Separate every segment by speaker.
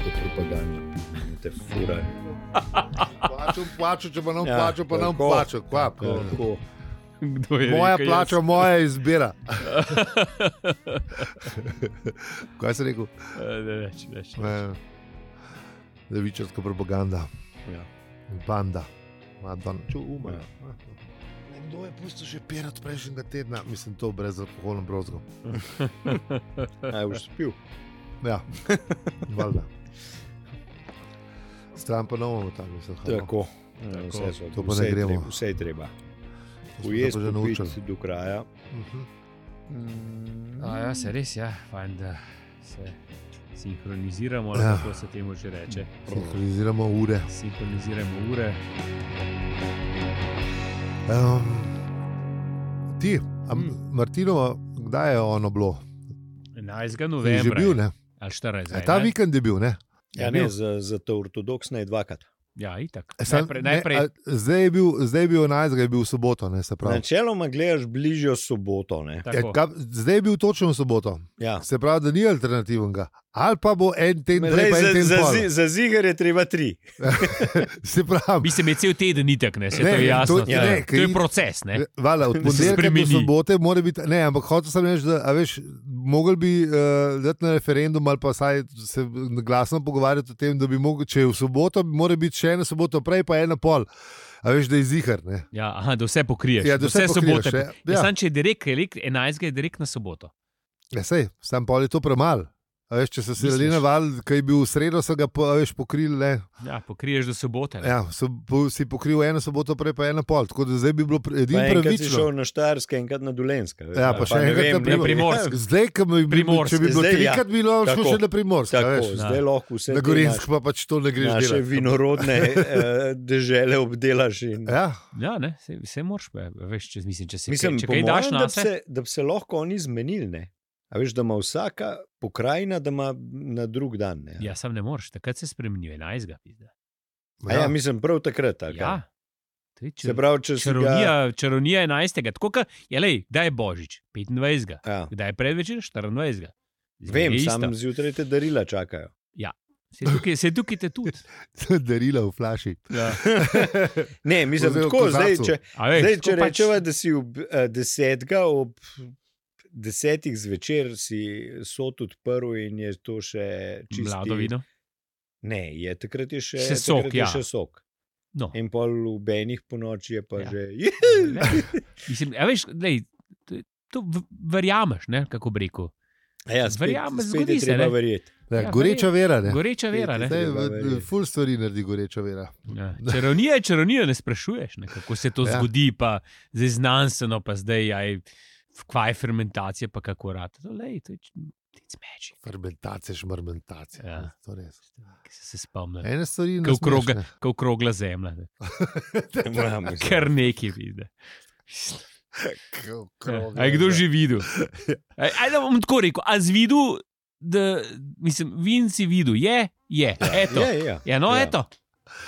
Speaker 1: propaganda. Te furaj.
Speaker 2: Plačal, plačal, če pa nam
Speaker 1: Ja,
Speaker 2: plačal, pa nam
Speaker 1: tako.
Speaker 2: plačal. Kva,
Speaker 1: Tako.
Speaker 3: Kdo je
Speaker 2: Moja
Speaker 3: rekel,
Speaker 2: plača,
Speaker 3: jaz?
Speaker 2: moja izbira. Kaj si rekel?
Speaker 3: Eh, Ne, več, več.
Speaker 2: Ne. Levičarska propaganda,
Speaker 1: Ja.
Speaker 2: banda, Madonna, ču umre.
Speaker 1: Ja.
Speaker 2: Nekdo je pustil že pirat prejšnjega tedna, mislim to brez alkoholnega brozga.
Speaker 1: Aj, už spil.
Speaker 2: Ja, valjda. Stran pa novamo tam, mislim. halo.
Speaker 1: Tako. Ja, Vse, so,
Speaker 2: To pa ne
Speaker 1: vse, je
Speaker 2: gremo.
Speaker 1: treba, vse je treba.
Speaker 2: To smo
Speaker 1: Ujez
Speaker 2: se pa že naučili.
Speaker 1: se do kraja.
Speaker 2: Mhm.
Speaker 3: A, ja, se res, ja, fajn, da se sinhroniziramo,
Speaker 2: Ja.
Speaker 3: ja. kako se temu že reče.
Speaker 2: Sinhroniziramo ure.
Speaker 3: Sinhroniziramo ure.
Speaker 2: Um, ti, a
Speaker 3: Hmm.
Speaker 2: Martino, kdaj je ono bilo?
Speaker 3: 11.
Speaker 2: Je že
Speaker 3: novembra.
Speaker 2: bil, ne?
Speaker 3: Ali 14.
Speaker 2: E, ta vikend je bil, ne?
Speaker 1: Ja, ne, za, za to ortodoksne je dvakrat.
Speaker 3: Ja, itak.
Speaker 2: E, Sam,
Speaker 3: najprej,
Speaker 2: ne,
Speaker 3: najprej,
Speaker 2: a, zdaj je bil, zdaj je bil 11, je bil v soboto, ne se pravi.
Speaker 1: Načeloma gledaš bližjo soboto. Ne?
Speaker 2: Ja,
Speaker 3: tako.
Speaker 2: ka, zdaj je bil točno v soboto,
Speaker 1: Ja.
Speaker 2: se pravi, da ni alternativnega. Ali pa bo en teden,
Speaker 1: Zdaj,
Speaker 2: prej, pa en
Speaker 1: za,
Speaker 2: teden
Speaker 1: za,
Speaker 2: pol.
Speaker 1: zi- za zigar je treba tri.
Speaker 2: Se pravi,
Speaker 3: Bi se imel cel teden itak, ne, se
Speaker 2: Ne,
Speaker 3: to je
Speaker 2: to-
Speaker 3: jasno. To,
Speaker 2: ja,
Speaker 3: je-
Speaker 2: ne, Ja.
Speaker 3: to je
Speaker 2: ker-
Speaker 3: proces, ne.
Speaker 2: Vala, od
Speaker 3: Da se
Speaker 2: ponedeljka do
Speaker 3: spremeni.
Speaker 2: sobote mora biti. Ne, ampak hotel sem reči, da a veš, mogli bi uh, dati na referendum ali pa vsaj se glasno pogovarjati o tem, da bi mogli, če je v soboto, mora biti še ena sobota prej, pa ena pol. A veš, da je zihar. Ne?
Speaker 3: Ja, aha, da vse pokriješ.
Speaker 2: Ja, da
Speaker 3: da
Speaker 2: vse pokriješ,
Speaker 3: sobote.
Speaker 2: ja.
Speaker 3: Ja, ja.
Speaker 2: Ja.
Speaker 3: Sam, če je direkt, je direkt, 11. je direkt na soboto.
Speaker 2: Ja, sej, sam pol je to premalo. A Veš, če so se
Speaker 3: Misliš?
Speaker 2: ljudje navadili, kaj je bil v sredo, so ga po, a veš, pokrili. Ne?
Speaker 3: Ja, pokriješ do sobote. ne.
Speaker 2: Ja, so, po, si pokril eno soboto, prej pa eno pol. Tako da zdaj bi bilo pre-
Speaker 1: Pa
Speaker 2: edino
Speaker 1: Enkrat si
Speaker 2: pravično.
Speaker 1: šel na Štajerske, enkrat na Dolenska.
Speaker 2: Ja, pa še enkrat na
Speaker 3: Primorsk. Primorsk.
Speaker 2: Zdaj, ko bi bilo, če bi bilo
Speaker 1: Zdaj, ja.
Speaker 2: trikrat, bi bilo šlo
Speaker 1: Tako.
Speaker 2: še na primorsko. a
Speaker 1: Tako,
Speaker 2: veš.
Speaker 1: zdaj lahko vse
Speaker 2: Na
Speaker 1: te
Speaker 2: Gorenjsku pa pač to ne greš
Speaker 1: naš- naše
Speaker 2: delati.
Speaker 1: vinorodne eh, dežele obdelaš. In...
Speaker 2: Ja,
Speaker 3: ja ne, se, se moraš, pa, veš, če, mislim, če se
Speaker 1: Mislim,
Speaker 3: kaj, če kaj
Speaker 1: po
Speaker 3: daš
Speaker 1: mojem,
Speaker 3: na
Speaker 1: da, bi se, da bi se lahko oni zmenili. Ne? A veš, da ima vsaka pokrajina, da ima na drug dan. Ne?
Speaker 3: Ja, sam ne moreš, takrat se spremenijo 11. pizda.
Speaker 1: A ja, mislim, prav takrat. ali kaj?
Speaker 3: Ja, to je
Speaker 1: Se
Speaker 3: čar,
Speaker 1: pravi, če si ga...
Speaker 3: čarovnija, čarovnija 11. Tako kot je, lej, kdaj je božič, 25.
Speaker 1: Ja.
Speaker 3: Kdaj je predvečer, 24. Zmeraj
Speaker 1: Vem,
Speaker 3: je isto.
Speaker 1: sam zjutraj te darila čakajo.
Speaker 3: Se tukaj, se tukaj te tudi.
Speaker 2: darila v flaši.
Speaker 3: Ja.
Speaker 1: Ne, mislim,
Speaker 2: Oziroma
Speaker 1: tako, zdaj,
Speaker 2: kozarcu.
Speaker 1: če,
Speaker 3: A veš,
Speaker 1: zdaj, če
Speaker 3: tako pač-
Speaker 1: rečeva, da si ob eh, desetega, ob desetih zvečer si sod odprl in je to še čisto.
Speaker 3: Mlado vino.
Speaker 1: Ne, je, takrat je še,
Speaker 3: Še sok,
Speaker 1: takrat je
Speaker 3: ja.
Speaker 1: še sok.
Speaker 3: No.
Speaker 1: In pol v benih po noči je pa ja.
Speaker 3: Ja.
Speaker 1: že.
Speaker 3: Ne. Mislim, a veš, lej, to, to v- verjameš, ne, kako bi rekel.
Speaker 1: Ja, spet,
Speaker 3: Verjamem,
Speaker 1: spet
Speaker 3: zgodi
Speaker 1: je
Speaker 3: se,
Speaker 1: treba
Speaker 3: ne.
Speaker 1: verjeti.
Speaker 2: Ja,
Speaker 3: Ja,
Speaker 2: goreča vera. Ne?
Speaker 3: Goreča vera. Ne?
Speaker 2: Zdaj,
Speaker 1: Treba
Speaker 2: v-
Speaker 1: verjeti.
Speaker 2: ful stvari naredi goreča vera.
Speaker 3: Ja. Čarovnija je čarovnija, ne sprašuješ, ne? kako se to
Speaker 2: Ja.
Speaker 3: ja. zgodi, pa zdaj znanstveno, pa zdaj aj, kva je fermentacija, pa kako rata. To, lej, to je zmeči.
Speaker 2: Fermentacija, šmarmentacija.
Speaker 3: Ja.
Speaker 2: To res.
Speaker 3: Se, se spomnim.
Speaker 2: Ene stvari ne
Speaker 3: Kot
Speaker 2: smeš,
Speaker 3: kroga,
Speaker 2: ne.
Speaker 3: ko krogla zemlja, ne.
Speaker 1: Ja, mislim.
Speaker 3: kar neki vidi.
Speaker 2: Ko kroga,
Speaker 3: Aj Ja. kdo
Speaker 2: ne.
Speaker 3: že videl? Aj, aj da bom tako rekel, a z vidu, da mislim, vin si videl, je, je, eto.
Speaker 1: Ja, ja.
Speaker 3: Ja, no,
Speaker 1: Ja.
Speaker 3: ja. eto,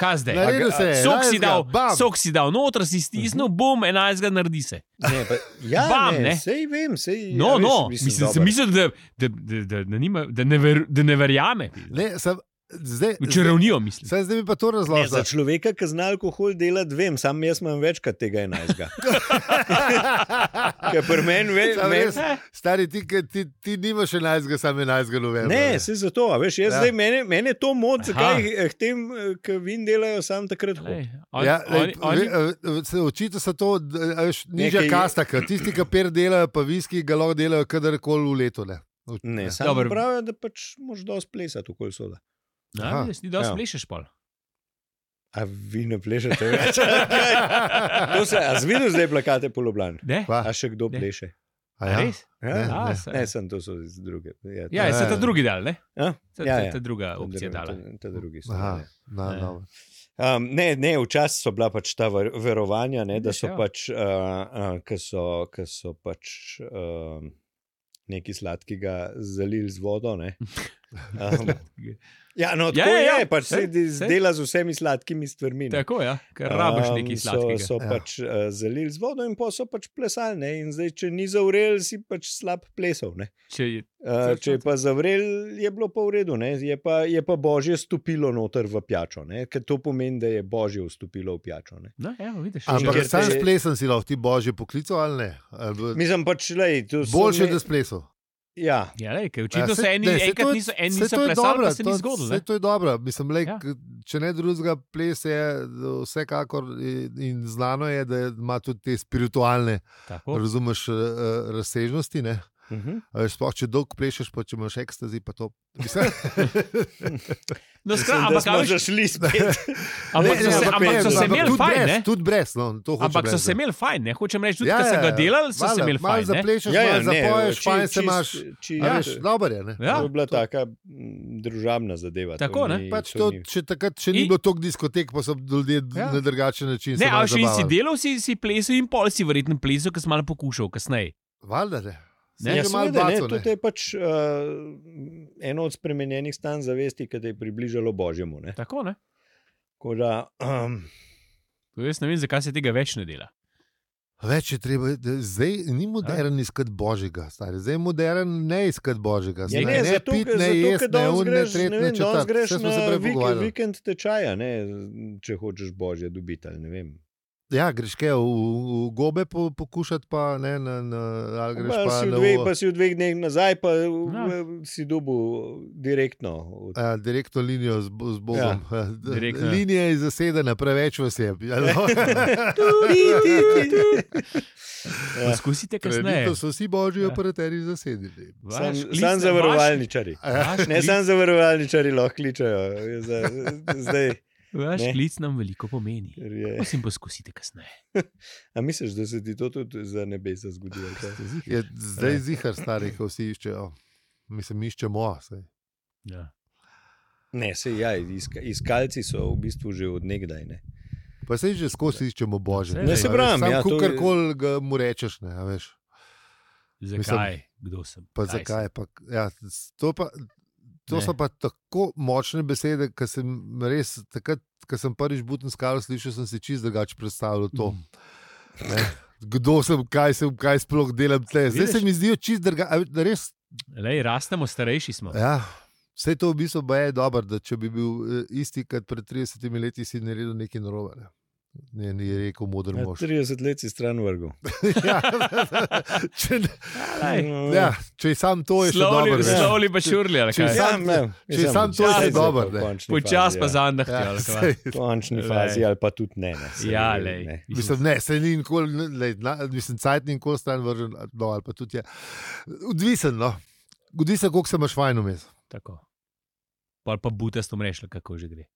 Speaker 3: kaj zdaj?
Speaker 2: Naredil se je,
Speaker 3: Sok si,
Speaker 2: enajstega,
Speaker 3: dal,
Speaker 2: bam.
Speaker 3: sok si dal, noter si stisnil, bom, enajstega naredi se.
Speaker 1: Ne, pa, ja,
Speaker 3: Bam,
Speaker 1: ne,
Speaker 3: ne.
Speaker 1: sej vem, sej.
Speaker 3: No,
Speaker 1: ja,
Speaker 3: no,
Speaker 1: veš,
Speaker 3: mislim, sem
Speaker 1: dobro.
Speaker 3: mislil, da, da, da, da, da, nima, da, ne, ver, da ne verjame.
Speaker 2: Ne, sam, zdaj,
Speaker 3: V čarovnijo mislim.
Speaker 2: Zdaj, zdaj bi pa to
Speaker 1: Ne, za
Speaker 2: razložil.
Speaker 1: človeka, ki zna alkohol delati, vem, sam jaz imam več kot tega enajstega. Ker pri meni ve,
Speaker 2: Sam
Speaker 1: meni-
Speaker 2: res- Stari, ti, ke- ti, ti nimaš 11, samo 11 novembra.
Speaker 1: Ne, se zato, a veš, jaz
Speaker 2: Ja.
Speaker 1: ja. zdaj mene, mene to moti, zakaj
Speaker 3: Aha.
Speaker 1: eh, k tem, ki vin delajo, sam takrat hodim.
Speaker 3: Lej, on,
Speaker 2: Ja,
Speaker 3: ja,
Speaker 2: lej,
Speaker 3: on, on,
Speaker 2: ve- eh, se Očitno so to d- a veš, nižja
Speaker 1: Nekaj-
Speaker 2: kasta, ker tisti, ki per delajo, pa viski, ga lahko delajo kadarkoli v letu. Ne. Ja.
Speaker 1: Ne,
Speaker 3: Dobro.
Speaker 1: samo pravijo, da pač moraš dosti plesati okoli soda.
Speaker 2: aha.
Speaker 3: on, ti dosti
Speaker 1: Ja.
Speaker 3: plešeš pol.
Speaker 1: A vi ne plešete več? To se, a zvidu zdaj plakate po Ljubljani.
Speaker 3: Ne,
Speaker 2: Pa,
Speaker 1: A še kdo
Speaker 3: Ne.
Speaker 1: pleše?
Speaker 2: a
Speaker 3: ja.
Speaker 2: ja?
Speaker 3: res?
Speaker 2: Ne,
Speaker 1: Ja,
Speaker 3: A,
Speaker 2: ne.
Speaker 3: se-
Speaker 1: ne, sem to so iz druge. Ja,
Speaker 3: Ja,
Speaker 2: Ja,
Speaker 3: je se
Speaker 2: ja.
Speaker 3: ta drugi dal, ne?
Speaker 1: Ja,
Speaker 3: Ta,
Speaker 1: ja,
Speaker 3: ta,
Speaker 1: ja.
Speaker 3: ta druga
Speaker 1: ta
Speaker 3: opcija
Speaker 1: druga-
Speaker 3: dala.
Speaker 1: ta- ta drugi so
Speaker 2: Aha,
Speaker 1: dali.
Speaker 2: no,
Speaker 3: Ne.
Speaker 2: no.
Speaker 1: Um, ne, ne, včasih so bila pač ta ver- verovanja, ne, da
Speaker 3: Vidiš,
Speaker 1: so
Speaker 3: ja.
Speaker 1: pač, uh, uh, ki so, ki so pač um, nekaj sladkega zalili z vodo. Ne. Aha. Ja, no,
Speaker 3: Ja,
Speaker 1: tako
Speaker 3: ja,
Speaker 1: je,
Speaker 3: ja.
Speaker 1: je, pač se
Speaker 3: Sej, sej.
Speaker 1: dela z vsemi sladkimi stvarmi. ne.
Speaker 3: Tako je, ja, ker rabiš
Speaker 1: Am,
Speaker 3: nekaj
Speaker 1: So,
Speaker 3: sladkega.
Speaker 1: so
Speaker 2: Ja.
Speaker 1: ja. pač uh, zalili z vodo in pa so pač plesali. Ne? In zdaj, če ni zavrel, si pač slab plesal. ne.
Speaker 3: Če je-
Speaker 1: Uh,
Speaker 3: Točno
Speaker 1: če je pa zavrel, je bilo pa v redu, ne? je pa, je pa božje stopilo noter v pijačo, ne? ker to pomeni, da je božje vstopilo v pijačo. Ne?
Speaker 3: No, evo, vidiš.
Speaker 1: Ker
Speaker 2: Ampak
Speaker 1: te-
Speaker 2: sam splesen si lahko ti božje poklical ali ne. Ali bo-
Speaker 1: Mislim pač, lej, to so
Speaker 2: Boljše,
Speaker 1: ne-
Speaker 2: da splesal.
Speaker 1: Ja,
Speaker 3: Ja, lej, ker
Speaker 2: Ja,
Speaker 3: očitno ja,
Speaker 2: saj-
Speaker 3: se eni,
Speaker 2: ne, saj to
Speaker 3: enkrat
Speaker 2: je-
Speaker 3: niso, eni
Speaker 2: sej
Speaker 3: niso
Speaker 2: to je
Speaker 3: plesali,
Speaker 2: dobro,
Speaker 3: pa se ni
Speaker 2: to-
Speaker 3: zgodilo.
Speaker 2: sej
Speaker 3: ne.
Speaker 2: To je dobro, mislim, lej,
Speaker 3: Ja.
Speaker 2: ja. če ne drugega, ples je vsekakor in- in znano je, da ima tudi te spiritualne,
Speaker 3: Tako.
Speaker 2: oh. razumeš, eh, eh, razsežnosti. ne.
Speaker 1: uh -huh.
Speaker 2: A veš, Sploh če dolgo plešeš, pa če imaš ekstazi, pa to. Mislim,
Speaker 3: No,
Speaker 1: Mislim,
Speaker 3: skratka,
Speaker 1: da
Speaker 3: ampak, a
Speaker 1: smo
Speaker 3: veš,
Speaker 1: že šli spet.
Speaker 3: ampak
Speaker 1: Ne,
Speaker 3: so
Speaker 1: ne,
Speaker 3: se-
Speaker 1: ampak
Speaker 3: ampak
Speaker 1: ne,
Speaker 3: so se
Speaker 1: ampak
Speaker 3: imeli
Speaker 2: tudi
Speaker 3: fajn,
Speaker 2: brez,
Speaker 3: ne?
Speaker 2: Tudi brez, no, to hočem
Speaker 3: Ampak so
Speaker 2: reči,
Speaker 3: se
Speaker 2: ne. Ja,
Speaker 3: imeli fajn, ne hočem reči, tudi ker sem ga delal, so se
Speaker 2: valjda,
Speaker 3: imeli
Speaker 2: Malo
Speaker 3: fajn. ne.
Speaker 2: zaplešeš, ja, malo zapoješ,
Speaker 1: či-
Speaker 2: fajn se
Speaker 1: čist-
Speaker 2: imaš.
Speaker 1: čist-
Speaker 2: Ja, veš, dober je. Ne?
Speaker 3: Ja,
Speaker 1: to je bila
Speaker 2: to-
Speaker 1: to... taka mm, družabna zadeva.
Speaker 3: Tako,
Speaker 1: to
Speaker 3: ne?
Speaker 1: Ni,
Speaker 2: Pač
Speaker 1: to
Speaker 2: to,
Speaker 1: ni-
Speaker 2: če takrat še ni
Speaker 3: In-
Speaker 2: bilo toliko diskotek, pa so ljudje
Speaker 3: Ja.
Speaker 2: ja. na drugačen način.
Speaker 3: Ne,
Speaker 2: se malo
Speaker 3: a še in si
Speaker 2: zabavali.
Speaker 3: delal, si, si plesal in pol si verjetno plesal, ker si malo pokušal kasneje.
Speaker 2: Valjda ne. Ne,
Speaker 3: Ne,
Speaker 1: Ja,
Speaker 2: ja, malo
Speaker 1: seveda, ne,
Speaker 2: bacil,
Speaker 1: to
Speaker 2: ne.
Speaker 1: je pač uh, eno od spremenjenih stanj zavesti, ki te je približalo božjemu. ne.
Speaker 3: Tako, ne?
Speaker 1: Tako da, um,
Speaker 3: To Jaz ne vem, zakaj se tega več ne dela.
Speaker 2: Več je treba, da- zdaj ni moderen iskati božjega, stari. zdaj je moderen ne iskati božjega.
Speaker 1: ja,
Speaker 2: Zdaj,
Speaker 1: ne, ne, zato,
Speaker 2: pit,
Speaker 1: ker-
Speaker 2: ne
Speaker 1: zato,
Speaker 2: jesti,
Speaker 1: ker
Speaker 2: ne
Speaker 1: danes
Speaker 2: un, ne
Speaker 1: greš,
Speaker 2: tret,
Speaker 1: ne
Speaker 2: ne
Speaker 1: vem, danes
Speaker 2: četrt.
Speaker 1: greš
Speaker 2: Vse smo se
Speaker 1: na
Speaker 2: prej
Speaker 1: vikend,
Speaker 2: pogovarjali.
Speaker 1: vikend tečaja, ne, če hočeš božje dobiti. ali Ne vem.
Speaker 2: Ja, greš kaj v, v gobe po, pokušati, pa ne, na, na, ali greš
Speaker 1: Pa,
Speaker 2: pa,
Speaker 1: si
Speaker 2: na
Speaker 1: v dve,
Speaker 2: v-
Speaker 1: pa si v dveh dneh nazaj, pa
Speaker 3: Ja.
Speaker 1: no. si dobil direktno. od-
Speaker 2: A, ja, direktno linijo z, bo- z Bogom. Ja,
Speaker 3: direktno.
Speaker 2: Linija je zasedena, preveč vas je. no.
Speaker 1: Ja.
Speaker 3: Poskusite kasneje.
Speaker 2: Kredito so vsi božji
Speaker 3: Ja.
Speaker 2: operaterji zasedeni.
Speaker 3: Vaš
Speaker 1: Sam,
Speaker 3: klic-
Speaker 1: sam
Speaker 3: vaš-
Speaker 1: zavarovalničari.
Speaker 3: vaš
Speaker 1: Ne,
Speaker 3: klic-
Speaker 1: sam zavarovalničari lahko kličajo. Za, zdaj,
Speaker 3: Vaš
Speaker 1: ne.
Speaker 3: klic nam veliko pomeni.
Speaker 1: ker je,
Speaker 3: Prosim, poskusite kasneje.
Speaker 1: a misliš, da se ti to tudi za nebesa zgodi? ali kaj?
Speaker 2: Je zdaj zihar stari, ko vsi iščejo. Mislim, iščemo. saj.
Speaker 3: Ja.
Speaker 1: Ne, se ja, iska, iskalci so v bistvu že odnegdaj. Ne?
Speaker 2: Pa se že
Speaker 3: Ja.
Speaker 2: skozi iščemo božje.
Speaker 3: Ne, se
Speaker 1: pravim, ja, to je-
Speaker 2: Kar koli mu rečeš, ne a veš.
Speaker 3: Zakaj? Kdo sem?
Speaker 2: Pa
Speaker 3: Kaj sem?
Speaker 2: zakaj? Pa, ja, s- to pa, to
Speaker 3: Ne.
Speaker 2: so pa tako močne besede, da sem res takrat, ko sem prvič buten skalo slišal, sem si čist drugače predstavljal to.
Speaker 3: Mm.
Speaker 2: Ne. Kdo sem, kaj sem, kaj sploh delam tle. Zdaj se
Speaker 3: Vidiš?
Speaker 2: mi zdijo čist drugače.
Speaker 3: Lej, rastemo, starejši smo.
Speaker 2: Ja, vse to v bistvu baje je dobro, da če bi bil eh, isti kot pred 30 leti, si naredil nekaj narobe. Ne? Ne, ni rekel modr
Speaker 1: Ja,
Speaker 2: mož.
Speaker 1: 30 let si stran vrgel.
Speaker 2: ja, če, ne-
Speaker 3: Lej,
Speaker 1: Mm.
Speaker 2: ja, če je sam to, je še
Speaker 3: slowly-
Speaker 2: dobro. ne.
Speaker 3: Slowly pa šurli, ali
Speaker 2: Če
Speaker 3: kaj?
Speaker 2: sam- če je sam to, je še dobro, ne.
Speaker 3: Počas pa zandah.
Speaker 2: Ja, saj,
Speaker 1: V končni
Speaker 3: Lej.
Speaker 1: fazi, ali pa tudi ne. ne, se
Speaker 3: Ja,
Speaker 1: ne,
Speaker 3: lej.
Speaker 1: ne.
Speaker 2: Mislim, ne, se ni nikoli, ne, lej, na- mislim, cajt ni nikoli stran vržen, no, ali pa tudi je. Odvisen, no. Odvisen, koliko se imaš fajn vmes.
Speaker 3: Tako. Pol pa butasto mreš, kako že gre.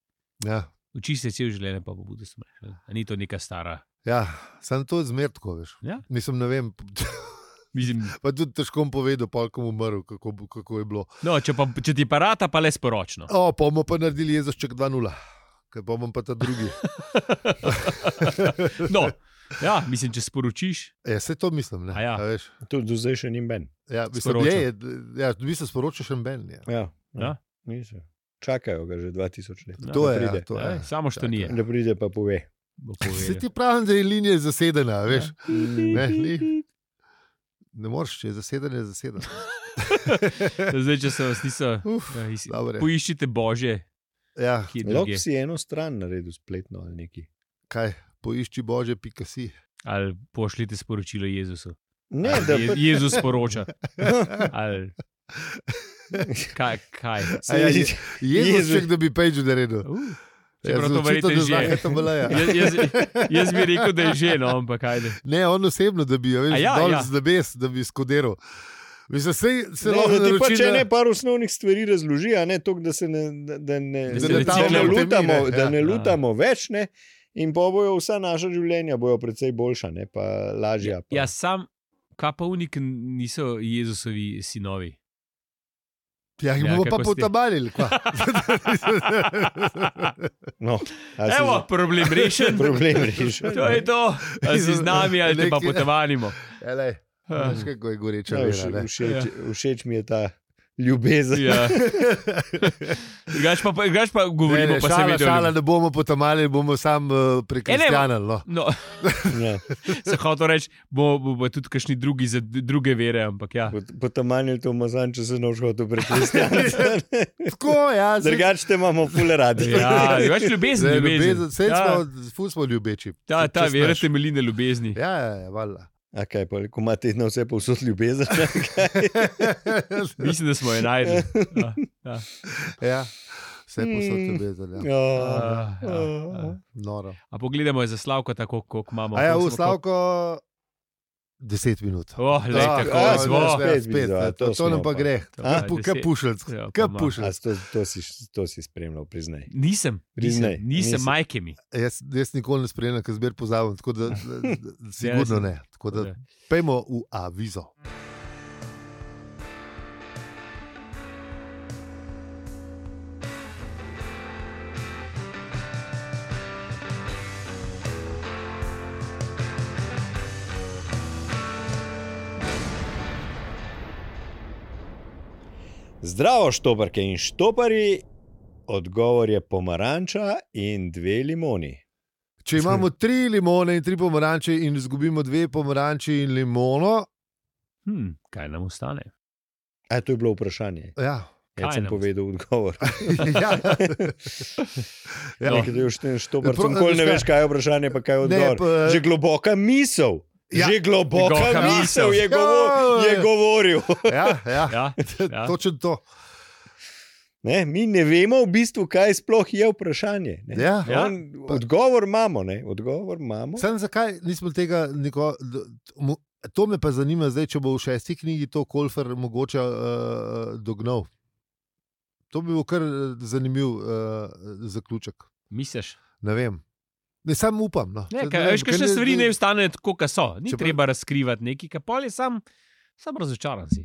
Speaker 2: Ja.
Speaker 3: Uči se cel življenje, pa bo butasto mreš. Ni to neka stara.
Speaker 2: Ja, sem to zmertko, veš.
Speaker 3: Ja.
Speaker 2: Mislim, ne vem,
Speaker 3: Mislim,
Speaker 2: pa tudi težko bom povedal, polkom umrl, kako, bo- kako je bilo.
Speaker 3: no, če, pa, če ti pa rata, pa le sporočno.
Speaker 2: O, pa bomo pa naredili jezoček 2-0, ker pa bom pa ta drugi.
Speaker 3: No, ja, mislim, če sporočiš,
Speaker 2: Ja, se to mislim. Ne,
Speaker 3: A ja.
Speaker 2: A veš.
Speaker 1: To do zdaj še ni ben.
Speaker 2: ja, mislim,
Speaker 3: Sporoča.
Speaker 2: je, je, ja, v bistvu sporočaš en ben. Ja.
Speaker 1: Ja,
Speaker 3: Ja.
Speaker 1: niso. Čakajo ga že 2000 let.
Speaker 3: Ja.
Speaker 2: To
Speaker 1: da
Speaker 2: je, ja,
Speaker 1: pride.
Speaker 2: to je.
Speaker 3: ja, samo što ni.
Speaker 1: Da pride pa pove.
Speaker 2: Se ti pravim, da je linija zasedena, a veš. Ne, ni. Ne moreš, če je zasedena, je zasedena.
Speaker 3: Zdaj, če se vas niso.
Speaker 2: Uf,
Speaker 3: ja, is-
Speaker 2: dobro je.
Speaker 3: Poiščite božje,
Speaker 2: ja,
Speaker 3: ki je
Speaker 1: Lahko
Speaker 3: druge.
Speaker 1: si eno stran naredil spletno ali neki.
Speaker 2: kaj, poišči bože, pika si.
Speaker 3: Ali pošljite sporočilo Jezusu.
Speaker 1: Ne,
Speaker 3: Ali
Speaker 1: da
Speaker 3: Ah, Je,
Speaker 1: pač-
Speaker 3: Jezus sporoča. Ali, kaj, kaj?
Speaker 1: se-
Speaker 2: A ja, je- Jezus,
Speaker 1: Jezus.
Speaker 2: če kdo bi pejč naredil.
Speaker 3: Uh,
Speaker 2: Ja,
Speaker 3: čeprav to
Speaker 2: očitno,
Speaker 3: verjete
Speaker 2: da
Speaker 3: že.
Speaker 2: zna HTML-ja.
Speaker 3: Jaz, jaz, jaz bi rekel, da je že, no, ampak kaj ne.
Speaker 2: Ne, on osebno, da bi, a
Speaker 3: A
Speaker 2: veš,
Speaker 3: ja,
Speaker 2: ja, dol
Speaker 3: ja.
Speaker 2: ja. z nebes, da bi skodiral. Mislim, sej, se
Speaker 1: Ne,
Speaker 2: lahko
Speaker 1: da ti pa,
Speaker 2: naroči,
Speaker 1: če
Speaker 2: da-
Speaker 1: ne par osnovnih stvari razloži, a ne to, da se ne, da- da ne,
Speaker 3: Da se ne
Speaker 1: da ne
Speaker 3: tapljamo v
Speaker 1: lutamo,
Speaker 2: temi, ne,
Speaker 1: da
Speaker 2: ja.
Speaker 1: ne
Speaker 3: Ja.
Speaker 1: lutamo več. Ne? In pa bojo vsa naša življenja bojo precej boljša, ne pa lažja. Pa.
Speaker 3: Ja, sam, kaj pa unik niso Jezusovi sinovi.
Speaker 2: Ja, jih
Speaker 3: Ja,
Speaker 2: bomo
Speaker 3: kako
Speaker 2: pa
Speaker 3: ste?
Speaker 2: potabalili. kva.
Speaker 1: No, a si
Speaker 3: Evo, problem
Speaker 1: za-
Speaker 3: rešen.
Speaker 1: problem rešil.
Speaker 3: To je to, ali si z nami ali te pa
Speaker 2: Neki-
Speaker 3: potavanimo.
Speaker 2: Ja, lej,
Speaker 3: Ah,
Speaker 2: Veš, kako je goreča
Speaker 1: Ja,
Speaker 2: vera.
Speaker 1: vš-
Speaker 2: ne.
Speaker 1: všeč, všeč mi je ta ljubezen.
Speaker 3: Ja. Drugač pa, drugač pa govorimo,
Speaker 2: ne,
Speaker 3: pa se
Speaker 2: šala,
Speaker 3: vidi.
Speaker 2: šala, ne bomo potamali, bomo sam
Speaker 3: E,
Speaker 2: uh, prekristjanili. No.
Speaker 3: No,
Speaker 1: Ja.
Speaker 3: se hotel reči, bo, bo, bo tudi kakšni drugi za d- druge vere, ampak ja.
Speaker 1: Potamanil to mazan, če se ne všel do prekristjana.
Speaker 2: Tako, ja, zdaj-
Speaker 1: Drugače te imamo fule radi.
Speaker 3: Ja, več ljubezni.
Speaker 2: zdaj
Speaker 3: ljubezen.
Speaker 2: ljubezen, Saj
Speaker 3: ja,
Speaker 2: smo, ful smo ljubeči.
Speaker 3: ta,
Speaker 2: če-
Speaker 3: ta
Speaker 2: če
Speaker 3: vera
Speaker 2: znaš.
Speaker 3: temelji na ljubezni.
Speaker 2: Ja, ja, ja, valjda.
Speaker 1: A kaj pa, ko ima tedno vse povsod ljubezen?
Speaker 3: Mislim, da smo enajni. Ja.
Speaker 2: ja, vse
Speaker 3: Hmm.
Speaker 2: posod
Speaker 1: Mm.
Speaker 2: ljubezen. Ja.
Speaker 1: Ja.
Speaker 3: Ja, ja, ja.
Speaker 2: Noro.
Speaker 3: A pogledamo je za slavko, tako koliko imamo.
Speaker 2: A ja,
Speaker 3: Koliko
Speaker 2: v
Speaker 3: smo-
Speaker 2: Slavko 10 minut.
Speaker 3: Oh, lej,
Speaker 2: Ja,
Speaker 3: tako,
Speaker 2: ja,
Speaker 3: zvo.
Speaker 2: ja, spet,
Speaker 1: Spet
Speaker 2: spet,
Speaker 1: bi,
Speaker 2: ja,
Speaker 1: ja,
Speaker 2: to,
Speaker 1: to
Speaker 2: to nam
Speaker 1: smo
Speaker 2: pa
Speaker 1: pa.
Speaker 2: gre. Ah,
Speaker 3: Ja,
Speaker 2: Kaj
Speaker 3: deset.
Speaker 2: pušelc,
Speaker 3: Ja, pa
Speaker 2: kaj
Speaker 3: ima.
Speaker 1: A
Speaker 2: pušelc.
Speaker 1: si to, to, si, to si spremljal, priznaj.
Speaker 3: Nisem, nisem,
Speaker 1: Priznaj,
Speaker 3: nisem
Speaker 1: nisi.
Speaker 3: majke mi.
Speaker 2: Jaz, jaz nikoli ne spremljam, ker zmer pozabim, tako da, da, da sigurno
Speaker 3: sem-
Speaker 2: ne. Tako da
Speaker 3: Ja.
Speaker 2: pejmo v avizo.
Speaker 1: Zdravo, štoparke in štopari. Odgovor je pomaranča in dve limoni.
Speaker 2: Če imamo tri limone in tri pomaranče, in izgubimo dve pomaranči in limono,
Speaker 3: Hm, kaj nam ostane?
Speaker 1: A to je bilo vprašanje.
Speaker 2: ja.
Speaker 3: Kaj
Speaker 1: Jaz sem
Speaker 3: nam-
Speaker 1: povedal odgovor.
Speaker 2: ja. ja.
Speaker 3: No.
Speaker 1: Nekaj, da je všten štopar,
Speaker 2: Pro-
Speaker 1: sem nikoli ne
Speaker 2: veš
Speaker 1: veš, kaj je vprašanje, pa kaj je
Speaker 2: Ne,
Speaker 1: odgovor.
Speaker 2: pa- eh, e-
Speaker 1: Že globoka misel.
Speaker 2: Ja.
Speaker 1: Že globoka
Speaker 3: Globoka
Speaker 1: misel je,
Speaker 2: misel.
Speaker 1: govor, je
Speaker 2: Ja.
Speaker 1: govoril.
Speaker 2: Ja, ja.
Speaker 3: Ja, ja.
Speaker 2: Točno to.
Speaker 1: Ne, mi ne vemo v bistvu, kaj sploh je vprašanje. ne.
Speaker 2: Ja.
Speaker 3: Ja.
Speaker 1: On, odgovor imamo, ne? odgovor imamo.
Speaker 2: Sam zakaj nismo tega nikoli. To me pa zanima, zdaj, če bo v šesti knjigi to Kolfer mogoče uh, dognal. To bi bil kar eh, zanimiv uh, zaključek.
Speaker 3: Misliš?
Speaker 2: Ne vem. Ne, sam upam. No.
Speaker 3: Ne,
Speaker 2: Saj
Speaker 3: kaj,
Speaker 2: vem,
Speaker 3: veš, kakšne
Speaker 2: ker
Speaker 3: stvari ne ostanejo tako, kot so. Ni
Speaker 2: Če pa-
Speaker 3: Čeprav... treba razkrivati nekaj, kar pol je sam, sam razočaran si.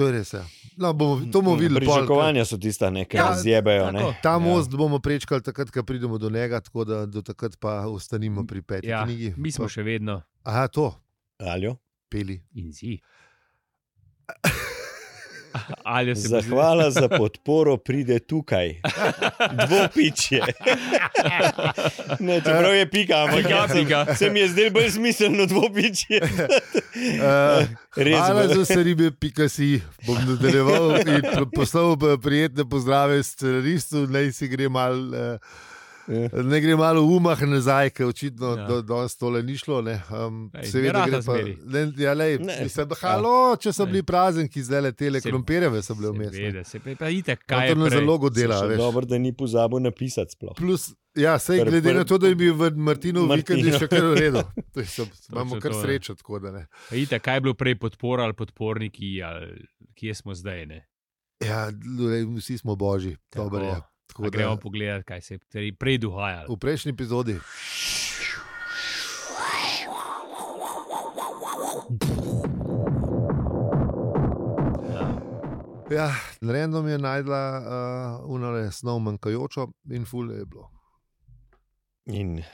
Speaker 2: To je res. Ja. No, bomo, to
Speaker 3: Mm,
Speaker 2: bomo videli. pol, ker
Speaker 1: Pričakovanja Hm, so tista, ne, ki
Speaker 3: Ja,
Speaker 1: nas zjebajo.
Speaker 3: tako. Ja,
Speaker 1: ne.
Speaker 2: Ta most bomo prečkali, takrat, ko pridemo do njega, tako da do takrat pa ostanimo pri peti
Speaker 3: Ja,
Speaker 2: knjigi.
Speaker 3: mi smo
Speaker 2: Pa-
Speaker 3: še vedno
Speaker 2: Aha, to,
Speaker 1: Aljo.
Speaker 2: peli.
Speaker 3: in si. Ali se bo zdaj-
Speaker 1: Zahvala za podporo pride tukaj. Dvopičje. Ne, čeprav je pika, ampak
Speaker 3: Pika,
Speaker 1: ja, sem,
Speaker 3: pika.
Speaker 1: se mi je zdelo bolj smiselno dvopičje.
Speaker 2: Uh,
Speaker 1: Res
Speaker 2: Hvala
Speaker 1: bolj.
Speaker 2: za vse ribe, pika si. Bom nadaljeval in p- poslal eh, prijetne pozdrave scenaristu, naj si gre malo. eh,
Speaker 1: Ja.
Speaker 2: Ne gre malo v umah nazaj, ker očitno
Speaker 3: Ja.
Speaker 2: ja. do, danes tole ni šlo. Ne. Um,
Speaker 3: Ej,
Speaker 2: seveda gre
Speaker 3: ne rata
Speaker 2: pa.
Speaker 3: zmeri.
Speaker 2: Ne, ja, lej,
Speaker 1: Ne.
Speaker 2: mislim, da, halo, če so
Speaker 3: Ej.
Speaker 2: bili prazen, ki zdaj le tele
Speaker 3: Se-
Speaker 2: krompireve so bile vmes. ne.
Speaker 3: Seveda, se pa pa itak,
Speaker 2: On
Speaker 3: kaj
Speaker 2: Ja, To
Speaker 3: je
Speaker 2: na
Speaker 3: prej.
Speaker 2: zalogo dela.
Speaker 1: Še
Speaker 2: veš.
Speaker 1: Dobro, Torej, da ni pozabil napisati sploh.
Speaker 2: Plus, ja, sej,
Speaker 1: Kar
Speaker 2: glede
Speaker 1: prv-
Speaker 2: na to, da je bil v Martinu vikend
Speaker 1: Martinu.
Speaker 2: še kar v redu. To je sab- Imamo kar
Speaker 3: to, ja.
Speaker 2: srečo, tako da ne.
Speaker 3: Pa Itak, kaj je bilo prej podpora ali podporniki, ali kje smo zdaj. Ne?
Speaker 2: Ja, lej, vsi smo božji. Dobro,
Speaker 3: Tako.
Speaker 2: ja.
Speaker 3: Pa
Speaker 2: Tako da-
Speaker 3: Gremo pogledat, kaj se je prej- prej
Speaker 2: v
Speaker 3: duhajalo.
Speaker 2: prejšnji epizodi. Ja, random je najdla uh, unale snov manjkajočo in fule je bilo.
Speaker 1: In uh,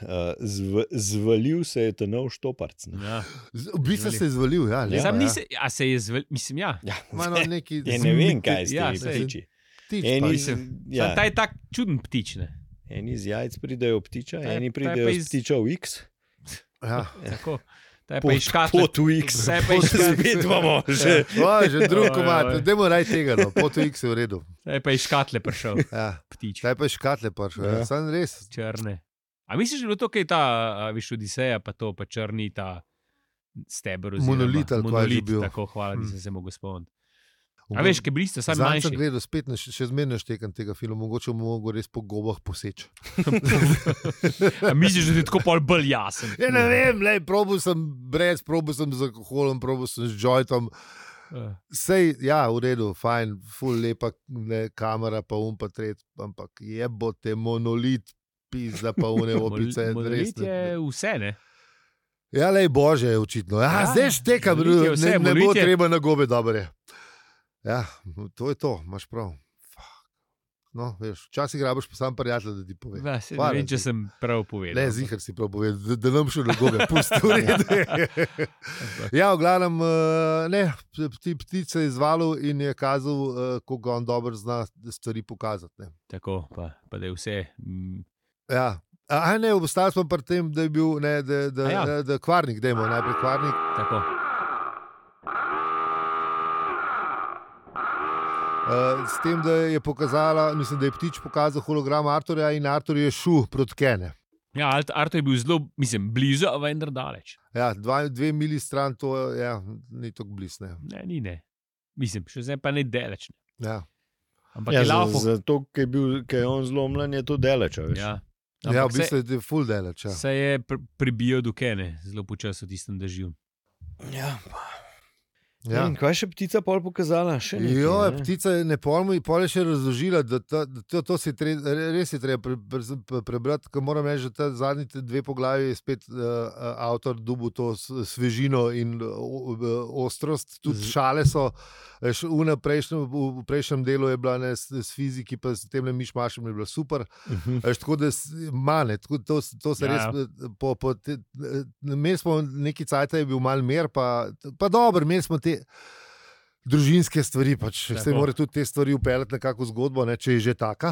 Speaker 1: zv, zvalil se je tenov štoparc. ne.
Speaker 3: Ja.
Speaker 2: Z, v bistvu
Speaker 3: Zvali.
Speaker 2: se je zvalil, ja.
Speaker 1: Ja,
Speaker 2: Lepa,
Speaker 3: Sam
Speaker 2: ja.
Speaker 3: nisem, a se je zvel, mislim, ja.
Speaker 1: Ja,
Speaker 2: Malo neki
Speaker 1: ja, ne vem, kaj ste
Speaker 3: Ja,
Speaker 1: vi
Speaker 3: saj.
Speaker 1: ptiči.
Speaker 2: Tič,
Speaker 1: Eni,
Speaker 2: pa,
Speaker 1: z-
Speaker 3: ja.
Speaker 1: ja,
Speaker 3: Ta je tak čuden ptič, ne.
Speaker 1: eni iz jajc pridejo ptiča,
Speaker 3: Ta je-
Speaker 1: eni
Speaker 3: ta je pa
Speaker 1: pridejo iz...
Speaker 3: iz-
Speaker 1: ptičev X.
Speaker 2: ja.
Speaker 3: Tako. Ta je pa
Speaker 1: Pot-
Speaker 3: iz škatle. Ja.
Speaker 1: Pot v X.
Speaker 3: Ta je pa iz škatle-
Speaker 1: Spet imamo že.
Speaker 2: O, Ja. že drug
Speaker 3: Oj, oj,
Speaker 2: komat,
Speaker 3: oj.
Speaker 2: ne moremo raje tega, no. po to X je v redu.
Speaker 3: ta je pa iz škatle prišel
Speaker 2: Ja.
Speaker 3: ptič.
Speaker 2: Kaj pa je škatle, pa še. Ja.
Speaker 1: Ja.
Speaker 2: Sam res.
Speaker 3: Črne. A misliš, da je bilo to, kaj je ta, a, veš, Odiseja, pa to, pa črni ta steber. oziroma
Speaker 2: Monolit ali kaj je že
Speaker 3: monolit,
Speaker 2: bil.
Speaker 3: Tako, hvala,
Speaker 2: Hm.
Speaker 3: nisem se mogel spomniti. A veš, kaj bili ste, sam
Speaker 2: Zdaj
Speaker 3: manjši.
Speaker 2: sem gledal, spet ne, še zmerno štekam tega filma, mogoče bomo mogli res po gobah poseči.
Speaker 3: A misliš, da je tako pol bolj jasen?
Speaker 2: Ja, ne vem, le, probil sem brez, probil sem z alkoholom, probil sem z jointom.
Speaker 3: Ja.
Speaker 2: Sej, ja, v redu, fajn, full lepa ne, kamera, pa um, pa tret, ampak je bo te monolit, pizda pa une opice.
Speaker 3: Mol-
Speaker 2: res
Speaker 3: monolit
Speaker 2: ne-
Speaker 3: je vse, ne?
Speaker 2: Ja, le, bože, je očitno. Ja,
Speaker 3: Ja,
Speaker 2: ja, zdaj štekam,
Speaker 3: monolit je
Speaker 2: ne,
Speaker 3: vse,
Speaker 2: ne, ne bo
Speaker 3: monolit je-
Speaker 2: treba na gobe dobre. Ja, to je to, imaš prav. Fuck. No, veš, včasih rabiš pa sam prijatelj, da ti pove.
Speaker 3: Da, se, ne
Speaker 2: Hvala
Speaker 3: vem, če
Speaker 2: ti.
Speaker 3: sem prav povedal.
Speaker 2: Le zihar si prav povedal, da, da nam še dolgo pusti. Ja, v glavnem, eh, ne, ti ptice je izvalil in je kazal, eh, kako on dobro zna stvari pokazati. Ne.
Speaker 3: Tako, pa, pa da je vse. mm,
Speaker 2: Ja. A, a ne, obstajal sem pri tem, da je bil ne, da, da,
Speaker 3: A
Speaker 2: ja.
Speaker 3: ja.
Speaker 2: ne, da kvarnik, da je najprej kvarnik.
Speaker 3: Tako.
Speaker 2: Uh, s tem, da je pokazala, mislim, da je ptič pokazal hologram Arturja in Artur je šel proti Kene.
Speaker 3: Ja, Alt- Arto je bil zelo, mislim, blizu, a vendar daleč.
Speaker 2: Ja, dva, dve mili stran, to ja, ni tako blizne.
Speaker 3: Ne, ni ne. Mislim, še zdaj pa ne daleč.
Speaker 2: Ja.
Speaker 3: Ampak
Speaker 1: Ja,
Speaker 3: je lafo.
Speaker 1: Zato, ker je, bil- ker je on zlomljen, je to delač.
Speaker 3: Ja.
Speaker 2: ja, v
Speaker 3: Ampak
Speaker 2: bistvu je to full delač.
Speaker 3: se,
Speaker 2: Ja.
Speaker 3: se je pr pribijal do Kene, zelo počasi v tistem dežju.
Speaker 1: Ja,
Speaker 2: Ja.
Speaker 1: In kaj je še ptica pol pokazala? Še nekaj,
Speaker 2: Jo,
Speaker 1: ne?
Speaker 2: ptica je ne pomeni, in pol je še razložila, da, ta, da to, to si tre, res je treba pre, pre, pre, prebrati. Ker moram reči, da ta zadnji te dve poglavi je spet uh, avtor dubu to s- svežino in eh, o, o, ostrost. Tudi
Speaker 3: Z-
Speaker 2: šale so, veš, una prejšnjo, v v prejšnjem delu je bila ne, s, s fiziki, pa s tem mišmašem je bila super.
Speaker 1: Mhm.
Speaker 2: Veš, tako da manj, tako, to, s- to se
Speaker 3: Ja,
Speaker 2: ja, res.
Speaker 3: ja.
Speaker 2: eh, Po, po te, eh, imeli smo neki cajt, je bil mal mer, pa, pa dobro, imeli smo te. Družinske stvari, pač se
Speaker 3: Tako.
Speaker 2: mora tudi te stvari upeljati nekako v zgodbo, ne, če je že taka.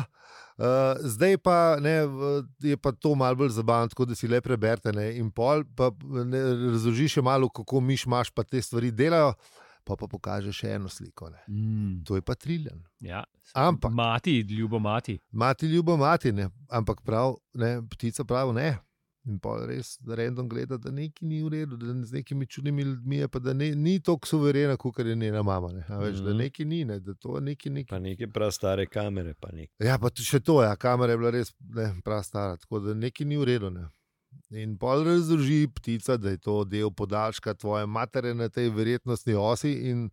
Speaker 2: Uh, zdaj pa ne, v- je pa to malo bolj zabavno, tako da si le preberete ne, in pol, pa ne, razloži še malo, kako miš imaš, pa te stvari delajo, pa pa pokaže še eno sliko. Ne.
Speaker 3: Mm,
Speaker 2: To je pa triljen.
Speaker 3: ja.
Speaker 2: Ampak-
Speaker 3: Mati, ljubo mati.
Speaker 2: Mati ljubo mati, ne? ampak prav, ne, ptica pravi ne. In pa res, da random gleda, da nekaj ni v redu, da z nekimi čudnimi ljudmi je, pa da ne, ni tako suverena, kot je njena mama. Ne? a Veš, mm. Da
Speaker 1: Mhm.
Speaker 2: nekaj ni, ne? da to nekaj ni.
Speaker 1: Pa neke prav stare kamere, pa nek.
Speaker 2: Ja, pa t- še to, ja, kamera je bila res ne, prav stara, tako da nekaj ni v redu. Ne? In pol razloži ptica, da je to del podaljška tvoje matere na tej verjetnostni osi. In...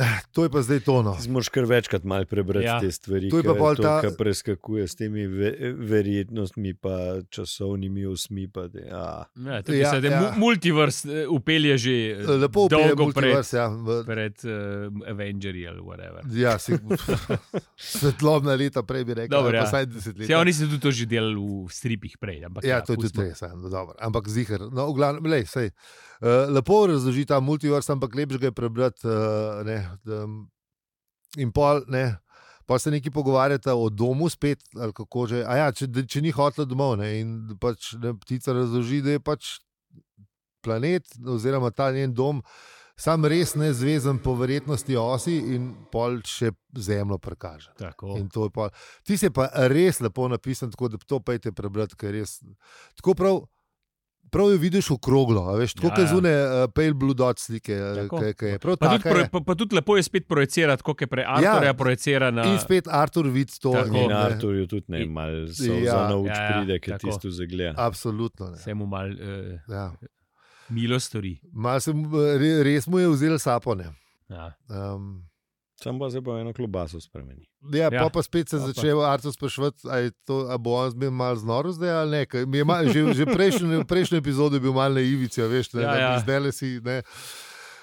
Speaker 2: eh, To no. je pa zdaj tono.
Speaker 1: Zmoš kar večkrat malo prebrati
Speaker 3: Ja.
Speaker 1: ja. te stvari,
Speaker 2: To je pa
Speaker 1: ker
Speaker 2: pol
Speaker 1: to,
Speaker 2: ta-
Speaker 1: kar preskakuje s temi ve verjetnostmi, pa časovnimi osmi. Pa de, a,
Speaker 3: Ja, tukaj
Speaker 2: Ja,
Speaker 3: ja, se
Speaker 2: ja.
Speaker 3: ja. multiverse eh, upelje že eh,
Speaker 2: Lepo je,
Speaker 3: dolgo pred,
Speaker 2: ja, v-
Speaker 3: pred uh, Avengerji ali whatever.
Speaker 2: Ja, si, svetlobna leta, prej bi rekel,
Speaker 3: Dobro,
Speaker 2: ali pa
Speaker 3: ja.
Speaker 2: vsaj desetletje.
Speaker 3: Se, oni so tudi to že delali v stripih prej. Ampak,
Speaker 2: Ja, to je tudi
Speaker 3: pustimo.
Speaker 2: res, ja, no, dobro. ampak zihar. No, v glavnem, lej, sej, uh, lepo razloži ta multiverse, ampak lepš ga je prebrati. Uh, ne, um, in pol, ne, pol se neki pogovarjata o domu, spet, ali kako že. A Ja, če, da- če ni hotla domov, ne, in pač ne, ptica razloži, da je pač planet, oziroma ta njen dom. Sam res ne zvezen po verjetnosti osi, in pol še zemljo prikaže.
Speaker 3: Tako.
Speaker 2: In to je pa. Ti si pa res lepo napisan, tako da to pejte prebrati, ker res. Tako prav. Prav jo vidiš okroglo, a veš, tako
Speaker 3: Ja,
Speaker 2: kot ja,
Speaker 3: ja.
Speaker 2: zune uh, pale blue dot slike, eh,
Speaker 3: Tako.
Speaker 2: ke- ke je prav
Speaker 3: Pa tudi,
Speaker 2: tako.
Speaker 3: pro, pa, pa tudi lepo je spet projicirati, kako je prej
Speaker 2: Ja.
Speaker 3: Arturja ja. projicira na.
Speaker 2: In spet Artur vidi to.
Speaker 3: Tako.
Speaker 2: in,
Speaker 1: in
Speaker 2: ne,
Speaker 1: Arturju tudi ne, malo se
Speaker 2: Ja.
Speaker 1: ja, nauč ja,
Speaker 3: Ja, ja,
Speaker 1: pride, ker
Speaker 3: tako.
Speaker 1: tisto zagleda.
Speaker 2: Absolutno. ne.
Speaker 3: Se mu mal uh,
Speaker 2: Ja.
Speaker 3: milo stori.
Speaker 2: Mal se, mu- re, res mu je vzel sapone.
Speaker 3: Ja.
Speaker 2: Um,
Speaker 1: Sam pa se pa eno klobaso spremeni.
Speaker 2: Ja, ja.
Speaker 3: Ja.
Speaker 2: Po pa spet se
Speaker 3: Pa pa.
Speaker 2: začne Artur sprašovati, ali bo on zmeraj malo znoro zdaj ali ne. ker mi je Mal, že že prejšnji, prejšnji epizod je bil malo na ivici, a veš, ne,
Speaker 3: Ja,
Speaker 2: ja, ja.
Speaker 3: ja.
Speaker 2: zdaj le si. Ne.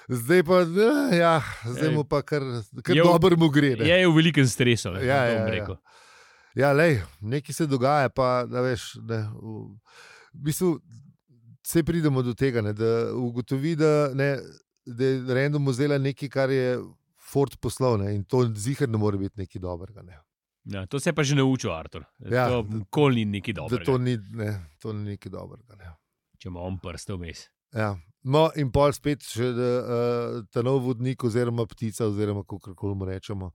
Speaker 2: Zdaj pa, eh, ja, zdaj
Speaker 3: Ej.
Speaker 2: mu pa kar, kar
Speaker 3: Je v-
Speaker 2: dobro mu gre. Ne.
Speaker 3: Je v velikem stresu, ne
Speaker 2: Ja, ja,
Speaker 3: bom
Speaker 2: ja.
Speaker 3: rekel.
Speaker 2: Ja, lej, nekaj se dogaja, pa da veš. Ne, v, v bistvu, vse pridemo do tega, ne, da ugotovi, da, ne, da je random vzela nekaj, kar je Ford poslal ne, in to zihar ne more biti nekaj dobrega. Ne.
Speaker 3: Ja, to se je pa že naučil, Artur.
Speaker 2: Ja.
Speaker 3: Ja, to nikoli ni neki dobro. ja.
Speaker 2: Da to ni, ne, to ni nekaj dobrega. Ne.
Speaker 3: Če ima on prste vmes.
Speaker 2: Ja. No, in pol spet še da, uh, ta nov vodnik, oziroma ptica, oziroma kako koli mu rečemo,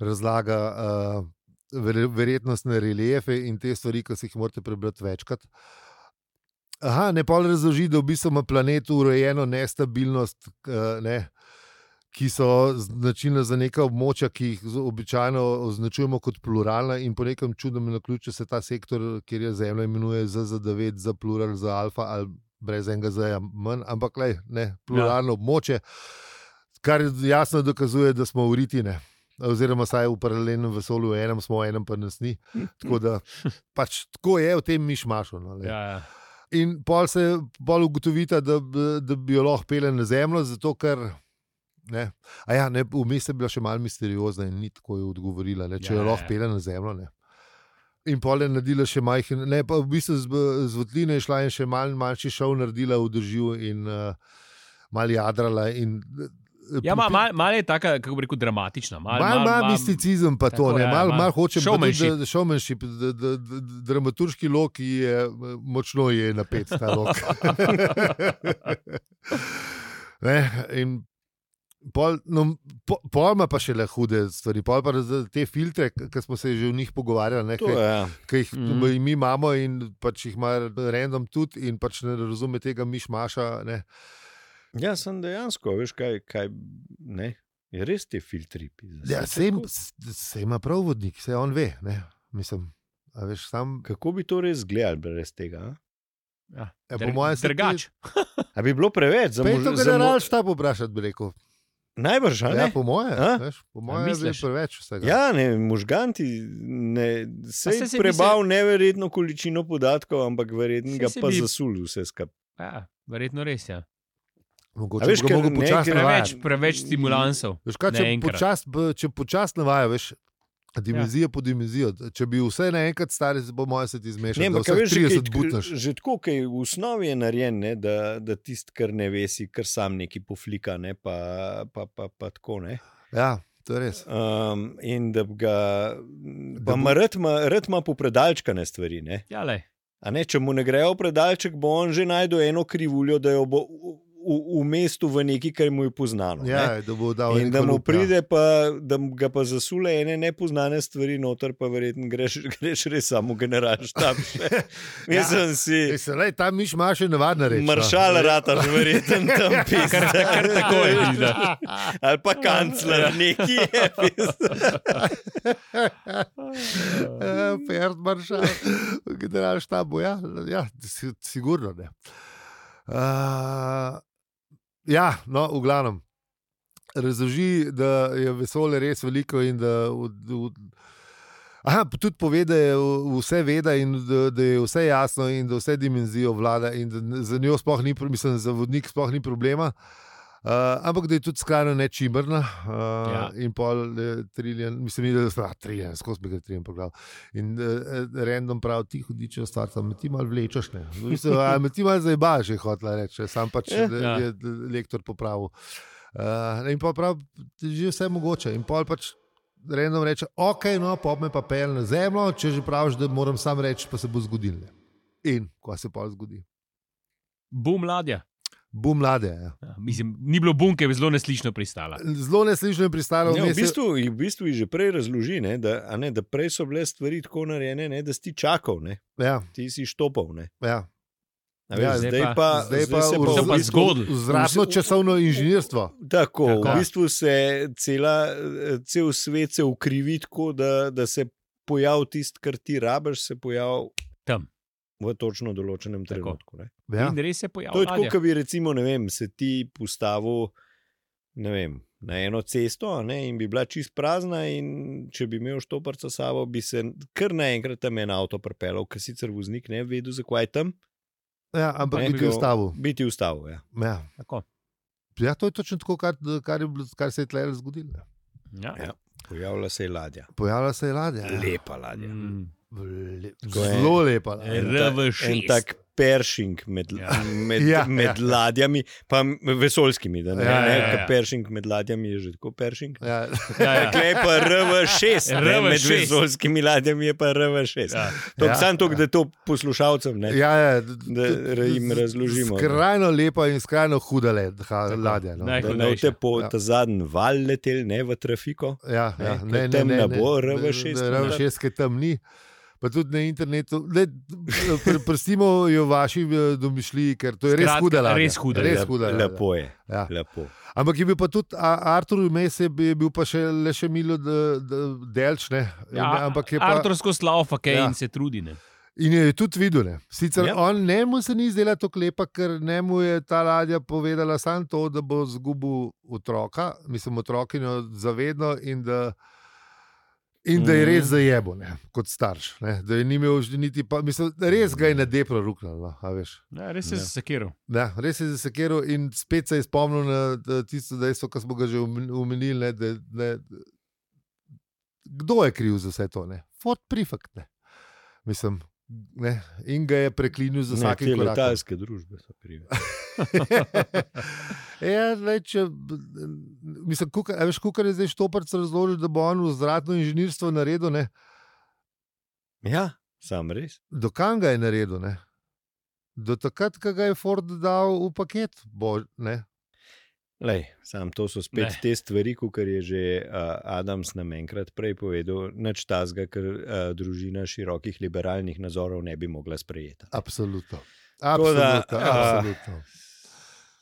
Speaker 2: razlaga uh, ver, verjetnostne reliefe in te stvari, ki si jih morate prebrati večkrat. Aha, ne pol razloži, da v bistvu ima planet urejeno nestabilnost, uh, ne, ki so značilna za neka območja, ki jih z- običajno označujemo kot pluralna, in po nekem čudnem naključju se ta sektor, kjer je Zemlja, imenuje ZZ9, za plural, za alfa ali brez enega za manj, ampak le, ne, pluralno ja. območje, kar jasno dokazuje, da smo v Ritine. Oziroma, saj v paralelnem vesolju, v enem smo, v enem pa nas ni. Tako da pač tako je v tem mišmašu. No, glej.
Speaker 3: Ja, ja.
Speaker 2: In pol se pol ugotovita, da, b- da bi jo lahko pele na zemljo, zato ker Ne. A ja, ne, vmes je bila še malo misteriozna in ni tako je odgovorila, ne, če
Speaker 3: Ja,
Speaker 2: jo
Speaker 3: ja,
Speaker 2: lahko
Speaker 3: ja.
Speaker 2: pele na zemljo. Ne. In pol je naredila še majhen, ne, pa v bistvu z, b- z votline je šla in še mal, manjši šov naredila v držju in uh, mal jadrala. In, eh,
Speaker 3: Ja, ma-
Speaker 2: pri-
Speaker 3: mal- malo mal je tako, kako bi rekel, dramatična. Malo
Speaker 2: Mal, mal, mal, mal misticizem, pa to
Speaker 3: tako,
Speaker 2: ne,
Speaker 3: ja,
Speaker 2: mal,
Speaker 3: malo
Speaker 2: mal hočem
Speaker 3: showmanship.
Speaker 2: povedati, da- showmanship, da- da- da- da- dramaturški lok ki je eh, močno je napet, ta lok. ne, in pol, no, po, pol ima pa še le hude stvari, pol pa za te filtre, ki smo se že o njih pogovarjali, ne,
Speaker 1: To,
Speaker 2: kaj,
Speaker 1: ja.
Speaker 2: ki jih
Speaker 3: Mhm.
Speaker 2: mm. mi imamo in pač jih ima random tudi in pač ne razume tega mišmaša. Ne.
Speaker 1: ja, sem dejansko, veš kaj, kaj ne. Je res ti filtri. pizda,
Speaker 2: Ja,
Speaker 1: saj
Speaker 2: se,
Speaker 1: tako.
Speaker 2: se ima prav vodnik, se on ve, ne, mislim. a Veš, sam
Speaker 1: Kako bi to res gledali brez tega?
Speaker 2: Ja, po mojem se
Speaker 3: drugač.
Speaker 1: a? A bi bilo preveč za
Speaker 2: Pejte
Speaker 1: mož-
Speaker 2: ga
Speaker 1: za
Speaker 2: na
Speaker 1: mo-
Speaker 2: ral štab vprašati, bi rekel.
Speaker 1: Najbrž, a ne?
Speaker 2: Ja, po moje,
Speaker 1: A?
Speaker 2: veš, po moje je že
Speaker 3: misliš?
Speaker 2: preveč vsega.
Speaker 1: Ja, ne, možganti ne, se
Speaker 3: saj
Speaker 1: je
Speaker 3: se
Speaker 1: prebal neverjetno količino podatkov, ampak verjetno
Speaker 3: Saj
Speaker 1: ga
Speaker 3: se
Speaker 1: pa
Speaker 3: bi-
Speaker 1: zasul vse skupaj.
Speaker 3: Ja, verjetno res je. Ja.
Speaker 2: Mogoče
Speaker 1: A veš,
Speaker 2: veš,
Speaker 1: ker
Speaker 2: ker
Speaker 1: ne
Speaker 2: počasi
Speaker 1: gre-
Speaker 2: navaja.
Speaker 3: Preveč, preveč stimulansov.
Speaker 2: Veš, kaj, če
Speaker 3: naenkrat.
Speaker 2: počasi počas navaja, veš, dimenzija
Speaker 3: Ja.
Speaker 2: po dimenziji. Če bi vse naenkrat stari, se po moje se ti zmeša.
Speaker 1: Ne,
Speaker 2: da
Speaker 1: ampak a
Speaker 2: vseh
Speaker 1: veš, že,
Speaker 2: 30
Speaker 1: kaj-
Speaker 2: butneš.
Speaker 1: že tako, kaj v osnovi je narejen, ne, da, da tisti, kar ne vesi, kar sam neki poflika, ne, pa, pa, pa, pa tako ne.
Speaker 2: Ja, to je res.
Speaker 1: Um, in da bi ga,
Speaker 2: Da
Speaker 1: pa
Speaker 2: bo-
Speaker 1: ima rtma, rtma popredalčkane stvari. Ne.
Speaker 3: Ja, lej.
Speaker 1: A Ne, če mu ne grejo predalček, bo on že najdel eno krivuljo, da jo bo v, v, v mestu v neki, kar mu je poznano. ne.
Speaker 2: Ja, da bo dal
Speaker 1: In
Speaker 2: neko
Speaker 1: da mu
Speaker 2: lup, ja.
Speaker 1: pride, pa, da mu ga pa zasule ene nepoznane stvari, noter pa verjetno greš, greš res samo general štab. še.
Speaker 2: Ja.
Speaker 1: Mislim si,
Speaker 2: Ej, se, lej, ta miš ima še navadna reč. no.
Speaker 1: maršal rataš, verjetno tam piše.
Speaker 3: Ja, Kar- kar tako je, pizda.
Speaker 1: Ali pa kancler, neki je. pizda.
Speaker 2: Ja, Pert maršal, general štabu, ja, ja si- sigurno ne. Uh, ja, no, v glavnem. Razloži, da je vesolje res veliko in da. V, v, Aha, pa tudi pove, da je v- vse veda in da, da je vse jasno in da vse dimenzijo vlada in da n- za njo sploh ni, pro- mislim, za vodnik sploh ni problema. Uh, ampak da je tudi skrajno nečimrna. Uh, ja.
Speaker 3: Ja.
Speaker 2: In pol eh, triljen, mislim, da je ah, triljen, skozi bi ga triljen pogledal. In uh, random prav ti hudiče ostarca, me ti mal vlečeš. Ne? Mislim, a, me ti mal zajbaš, je hotla reči, sam pač
Speaker 1: Ja.
Speaker 2: ja. je lektor popravil. Uh, in pa prav, že vse mogoče. In pol pač random reče, ok, no, pop me pa pel na zemljo, če že praviš, da moram sam reči, pa se bo zgodil. ne." In ko se pa zgodi,
Speaker 3: Bum ladja.
Speaker 2: bum mlade. Ja.
Speaker 3: Ja, mislim, ni bilo bunke, je zelo neslišno pristala.
Speaker 2: Zelo neslišno je pristalo,
Speaker 1: Ne, v
Speaker 2: vmes je-
Speaker 1: bistvu ji v bistvu ji že prej razloži, ne, da, a ne, da prej so bile stvari tako narejene, ne, da si ti čakal, ne,
Speaker 2: ja,
Speaker 1: ti si štopal. Ne.
Speaker 2: ja.
Speaker 1: A
Speaker 2: Ja,
Speaker 1: Veš,
Speaker 3: zdaj
Speaker 1: zdaj
Speaker 3: pa-
Speaker 1: pa,
Speaker 2: Zdaj pa
Speaker 1: se
Speaker 3: se pa
Speaker 1: Hm. v bistvu-
Speaker 3: zgodilo.
Speaker 2: Zračno časovno inženirstvo.
Speaker 1: Tako,
Speaker 3: Tako.
Speaker 1: v bistvu se cela, eh, cel svet se ukrivi tako, da, da se pojavi tisto, kar ti rabiš, se pojavi
Speaker 3: Tam.
Speaker 1: v točno določenem
Speaker 3: Tako.
Speaker 1: trenutku. Ne?
Speaker 2: Ja.
Speaker 3: In res je
Speaker 1: To je
Speaker 3: pojavil.
Speaker 1: tako,
Speaker 3: ladja.
Speaker 1: kot bi recimo, ne vem, se ti postavil ne vem, na eno cesto a ne, in bi bila čist prazna, in če bi imel štoparca s sabo, bi se kar naenkrat tam en avto pripeljal, ker sicer voznik ne bi vedel, zakaj je tam,
Speaker 2: Ja, ampak
Speaker 1: Ne
Speaker 2: bi
Speaker 1: bi
Speaker 2: ti
Speaker 1: bilo-
Speaker 2: ustavil.
Speaker 1: bi ti ustavil. Ja.
Speaker 2: Ja.
Speaker 3: Tako.
Speaker 2: ja, to je točno tako, kar, kar, je, bilo- kar se je tleh zgodilo. ne.
Speaker 3: Ja.
Speaker 1: Ja. Pojavila se je ladja,
Speaker 2: Pojavila se je ladja. ja.
Speaker 1: lepa ladja.
Speaker 3: Mm.
Speaker 2: Le,
Speaker 1: Ko je-
Speaker 2: zelo lepa. ladja.
Speaker 3: En
Speaker 1: ta-
Speaker 3: RV6.
Speaker 1: En tak peršing med,
Speaker 3: Ja.
Speaker 1: ja. med,
Speaker 2: Ja,
Speaker 1: ja, med
Speaker 2: ja.
Speaker 1: ja. ladjami, pa m- vesoljskimi. Da ne,
Speaker 2: Ja,
Speaker 1: ja, ne,
Speaker 2: ja,
Speaker 3: ja.
Speaker 1: ja, ja. Peršing med ladjami je že tako peršing.
Speaker 2: Ja,
Speaker 3: Ja, ja.
Speaker 1: Klej pa RV6, RV6. med
Speaker 3: RV6.
Speaker 1: vesoljskimi ladjami je pa RV6. Ja.
Speaker 3: Ja.
Speaker 2: Ja.
Speaker 1: Ja. Sam to, da to poslušalcem ne. Ja.
Speaker 2: ja, ja,
Speaker 1: Da jim razložimo, ne.
Speaker 2: Skrajno lepa in skrajno huda le, ha, ladja. No.
Speaker 3: Naj-
Speaker 1: Da ne boste po
Speaker 2: Ja.
Speaker 1: ja. ta zadnji val leteli, ne v trafiko.
Speaker 2: Ja,
Speaker 1: Ne,
Speaker 2: ja,
Speaker 1: ker
Speaker 2: ne, ne,
Speaker 1: tam
Speaker 2: ne,
Speaker 1: ne
Speaker 2: ne,
Speaker 1: bo
Speaker 2: ne,
Speaker 1: RV6
Speaker 2: ne,
Speaker 1: tam.
Speaker 2: RV6, ki tam ni. Pa tudi na internetu, ne, pr, prstimo jo vaši eh, domišljiji, ker to je res
Speaker 3: Skratka,
Speaker 2: huda. ladja.
Speaker 3: res huda
Speaker 2: Res
Speaker 1: Lep-
Speaker 2: huda ladja.
Speaker 1: Lepo je.
Speaker 2: Ja.
Speaker 1: Lepo.
Speaker 2: Ampak je bil pa tudi A- Artur, vmes je bi- je bil pa še, le še Milo de- de- Delč. Ne,
Speaker 3: Ja,
Speaker 2: In, ampak je pa,
Speaker 3: Artur skozi laufa, ki
Speaker 2: Ja.
Speaker 3: ja. se trudi. Ne.
Speaker 2: in jo je tudi videl. Ne. Sicer
Speaker 1: Ja.
Speaker 2: ja. on ne mu se ni zdela tako lepa, ker ne mu je ta ladja povedala samo to, da bo izgubil otroka, mislim, otrokinjo zavedno in da In da je res
Speaker 3: Mhm.
Speaker 2: zajebo, ne, kot starš. Ne, da je ni imel že niti, pa, mislim, res ga je na depro ruknil. No, a veš.
Speaker 3: Ja, res je
Speaker 1: Ja.
Speaker 3: zasekiral.
Speaker 2: Ja, res je zasekiral in spet se je spomnil na eh, tisto dejstvo, ki smo ga že omen- omenili. Ne, da, ne, kdo je kriv za vse to? Ne? Fot prefekt. Ne. Mislim, ne, in ga je preklinil za
Speaker 1: Ne, te
Speaker 2: vsakim korakom.
Speaker 1: letalske družbe so krive.
Speaker 2: ja, lej, če, mislim, kukar, a veš, kukar je zdaj štoparc razložil, da bo on vzvratno inženirstvo naredil. Ne?
Speaker 1: Ja, sam res.
Speaker 2: Do kam ga je naredil? Ne? Do takrat, ko ga je Ford dal v paket. Bo, ne?
Speaker 1: Lej, sam to so spet
Speaker 3: Ne.
Speaker 1: ne. te stvari, kar je že uh, Adams nam enkrat prej povedal, nič tazga, ker uh, družina širokih liberalnih nazorov ne bi mogla sprejeti.
Speaker 2: Absolutno.
Speaker 1: Tako
Speaker 2: Absolutno.
Speaker 1: da, a-
Speaker 2: absolutno.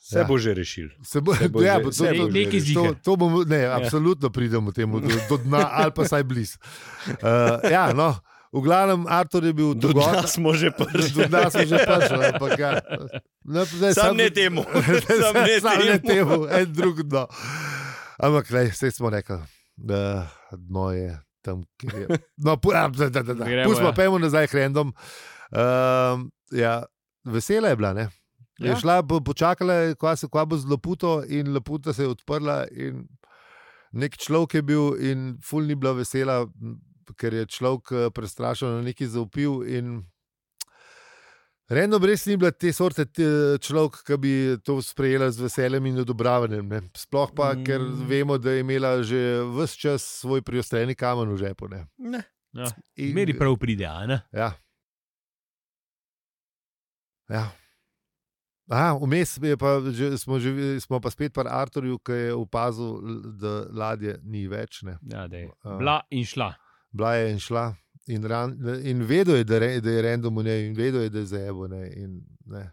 Speaker 1: Se
Speaker 2: Ja.
Speaker 1: ja. bo že rešil.
Speaker 2: Se bo,
Speaker 1: Se bo
Speaker 2: ja,
Speaker 1: že-
Speaker 2: bo,
Speaker 1: se
Speaker 2: to,
Speaker 1: bo
Speaker 2: to,
Speaker 1: že
Speaker 3: Neki
Speaker 1: rešil.
Speaker 3: Ja. zi-
Speaker 2: to,
Speaker 3: Ziger.
Speaker 2: to bomo, ne, absolutno pridemo temu, do, do dna ali pa vsaj blizu. Uh, ja, no, v glavnem, Artur je bil
Speaker 1: Do
Speaker 2: dogodek.
Speaker 1: dna smo že
Speaker 2: Do
Speaker 1: prišli.
Speaker 2: nas je že prišel, ampak ja. Ne, zdaj
Speaker 1: Sam ne temu. Sam ne
Speaker 2: Sam ne
Speaker 1: temu.
Speaker 2: temu, en drug dno. Ampak ne, vse smo rekli, da dno je tam, kjer je. No, pu, a, da, da, da, da.
Speaker 3: Gremo,
Speaker 2: Pustimo,
Speaker 3: ja.
Speaker 2: pojmo nazaj k random. Um, ja, vesela je bila, ne? Je
Speaker 3: Ja.
Speaker 2: šla, po- počakala je, kva se kva bo z Laputo, in Laputa se je odprla. in Nek človek je bil, in ful ni bila vesela, m, ker je človek eh, prestrašen, nekaj zaupil. In Random res ni bila te sorte te, človek, ki bi to sprejela z veseljem in odobravanjem. Ne. Sploh pa, mm.
Speaker 3: Mm.
Speaker 2: ker vemo, da je imela že vse čas svoj priostreni kamen v žepu. Ne.
Speaker 1: Ne.
Speaker 3: Ja.
Speaker 2: In-
Speaker 3: Meri prav pride, a ne?
Speaker 2: Ja. ja. Aha, vmes je pa že, smo, že, smo pa spet pri Arturju, ki je opazil, l- da ladje ni več. Ne.
Speaker 3: Ja, da je.
Speaker 2: Ja.
Speaker 3: Bila in šla.
Speaker 2: Bila je in šla. In, ran, in vedel je, da, re, da je random v njej, in vedel je, da je zebo. Ne, in, ne.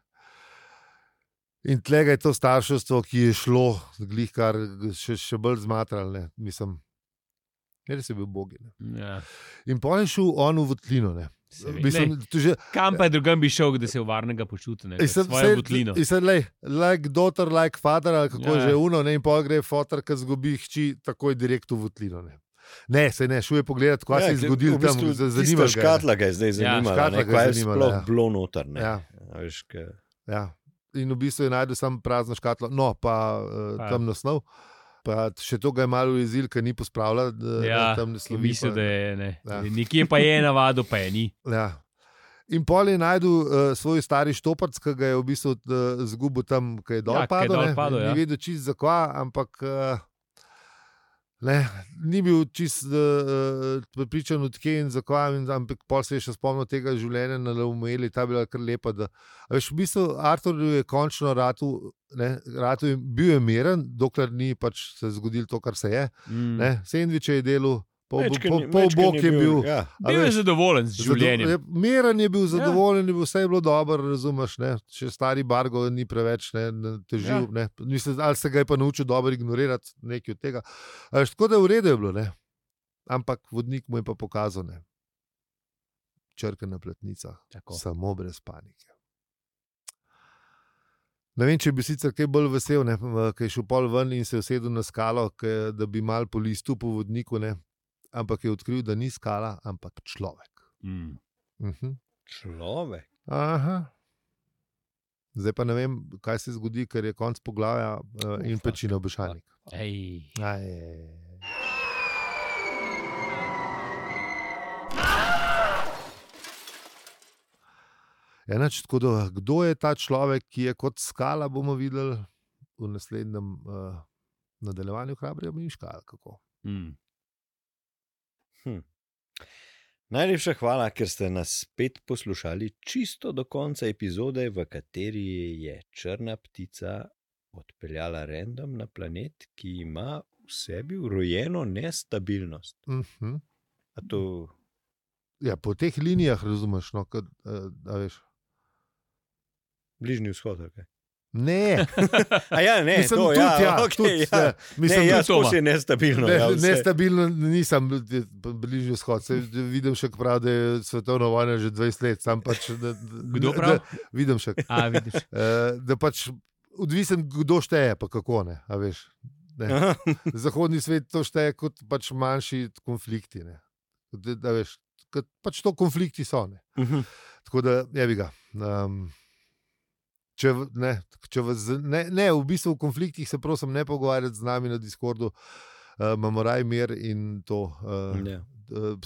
Speaker 2: in tlega je to starševstvo, ki je šlo, glih kar še, še bolj zmatralne, mislim. Res je bil bogin.
Speaker 3: Ja,
Speaker 2: In pa je šel on v Votlino. ne.
Speaker 3: seveda. Glej,
Speaker 2: Mislim, ja. to že,
Speaker 3: Kam pa drugam bi šel, da se varnega počuti? Ne, pač
Speaker 2: Mislim,
Speaker 3: svojo butlino.
Speaker 2: Mislim, lej, like daughter, like father, ali kako
Speaker 3: Ja,
Speaker 2: ja.
Speaker 3: ja.
Speaker 2: že uno, ne, in pa gre fotor, ki zgubi hči, takoj direkt v votlino. Ne, ne se ne, šuje pogledati, kaj ja, se je zgodilo tam, z- zanima
Speaker 1: Zanima
Speaker 2: ga, ja. ne.
Speaker 1: škatla ga je zdaj zanimala,
Speaker 2: škatla
Speaker 1: ja,
Speaker 2: ga je
Speaker 1: ne, kaj je
Speaker 2: zanimala,
Speaker 1: sploh
Speaker 2: ja.
Speaker 1: ja. bilo noter. Ja.
Speaker 2: Ja,
Speaker 1: Veš, kaj...
Speaker 2: ja. In v bistvu je najdel samo prazno škatlo, no pa uh,
Speaker 3: Pa-
Speaker 2: tam naslov. Pa še to ga je malo izil, ker ni pospravljal, da
Speaker 3: Ja,
Speaker 2: tam ne
Speaker 3: Ki
Speaker 2: slovi.
Speaker 3: misli,
Speaker 2: pa-
Speaker 3: da je ne.
Speaker 2: Ja.
Speaker 3: Ja. Nekje pa je navado, pa je ni.
Speaker 2: Ja. In pol je najdel uh, svoj stari štoparc, ki ga je v bistvu uh, zgubil tam, ki je dol
Speaker 3: Ja, ke je
Speaker 2: padel.
Speaker 3: dol
Speaker 2: ne.
Speaker 3: padel,
Speaker 2: Ni
Speaker 3: ja.
Speaker 2: vedel čist zakva, ampak uh, ne, ni bil čist uh, pripričan, odkje in zakva. in- Ampak pol se je še spomnil tega življenja na Leumeli, ta bila kar lepa. Da, A veš, v bistvu Artur je končno ratu, ne, ratu je, bil je miren, dokler ni pač se zgodilo to, kar se je.
Speaker 3: Mm.
Speaker 2: Ne, sendviče je delal, pol,
Speaker 1: Mečken-
Speaker 2: pol, pol
Speaker 1: mečken
Speaker 2: bok je bil.
Speaker 1: Ja.
Speaker 2: A
Speaker 3: Bil je
Speaker 2: veš, ja.
Speaker 3: zadovoljen z življenjem.
Speaker 2: Zado- je- Miren je bil, zadovoljen je bil, vse je bilo dobro, razumeš. Ne? Še stari Bargo ni preveč ne, ne, težil.
Speaker 3: Ja.
Speaker 2: Ja. Mislim, ali se ga je pa naučil dobro ignorirati, nekaj od tega. A veš, tako da je v redu je bilo, ne? ampak vodnik mu je pa pokazal, ne. črke na platnicah,
Speaker 3: Tako.
Speaker 2: samo brez panike. Ne vem, če bi sicer kaj bolj vesel, ne, ker je šel pol ven in se je usedel na skalo, ke, da bi mal po listu po vodniku, ne. ampak je odkril, da ni skala, ampak človek.
Speaker 3: Mm.
Speaker 2: Mhm.
Speaker 1: Človek.
Speaker 2: Aha. Zdaj pa ne vem, kaj se zgodi, ker je konc poglavja uh, in
Speaker 1: Ufa.
Speaker 2: pečino obešalnik.
Speaker 3: Ej.
Speaker 2: Aj. Enač, tako da, kdo je ta človek, ki je kot skala, bomo videli v naslednjem uh, nadaljevanju hrabrija Miška. ali kako.
Speaker 3: Mm.
Speaker 1: Najlepša hvala, ker ste nas spet poslušali čisto do konca epizode, v kateri je črna ptica odpeljala random na planet, ki ima v sebi urojeno nestabilnost.
Speaker 2: Uh -huh.
Speaker 1: A to
Speaker 2: ja, po teh linijah razumeš, no, kad, uh, a veš.
Speaker 1: bližnji vzhod. ali kaj?
Speaker 2: Ne,
Speaker 1: A ja, ne,
Speaker 2: Mislim,
Speaker 1: to,
Speaker 2: tudi,
Speaker 1: ja,
Speaker 2: ja,
Speaker 1: okay,
Speaker 2: tudi,
Speaker 1: ja.
Speaker 2: ja. Mislim,
Speaker 1: ne, ja,
Speaker 3: tudi Toma.
Speaker 1: skozi je nestabilno. ja,
Speaker 2: Ne,
Speaker 1: vse.
Speaker 2: nestabilno nisem, je bližnji vzhod. Se vidim še, ko pravi, da je svetovna vojna že 20 let. Sam pač, da, da-
Speaker 3: Kdo
Speaker 2: da-
Speaker 3: prav?
Speaker 2: Vidim še,
Speaker 3: A, vidiš.
Speaker 2: eh, da pač odvisen, kdo šteje, pa kako ne. a veš. Ne.
Speaker 1: Aha.
Speaker 2: Zahodni svet to šteje kot pač manjši konflikti. Ne. Kot, da veš, kot pač to konflikti so. Ne. Tako da je bi ga. Um, Če, v- ne, če v, z- ne, ne, v bistvu v konfliktih se prosim ne pogovarjati z nami na Discordu, uh, imamo raj mir in to. Uh,
Speaker 1: Ja.
Speaker 2: uh,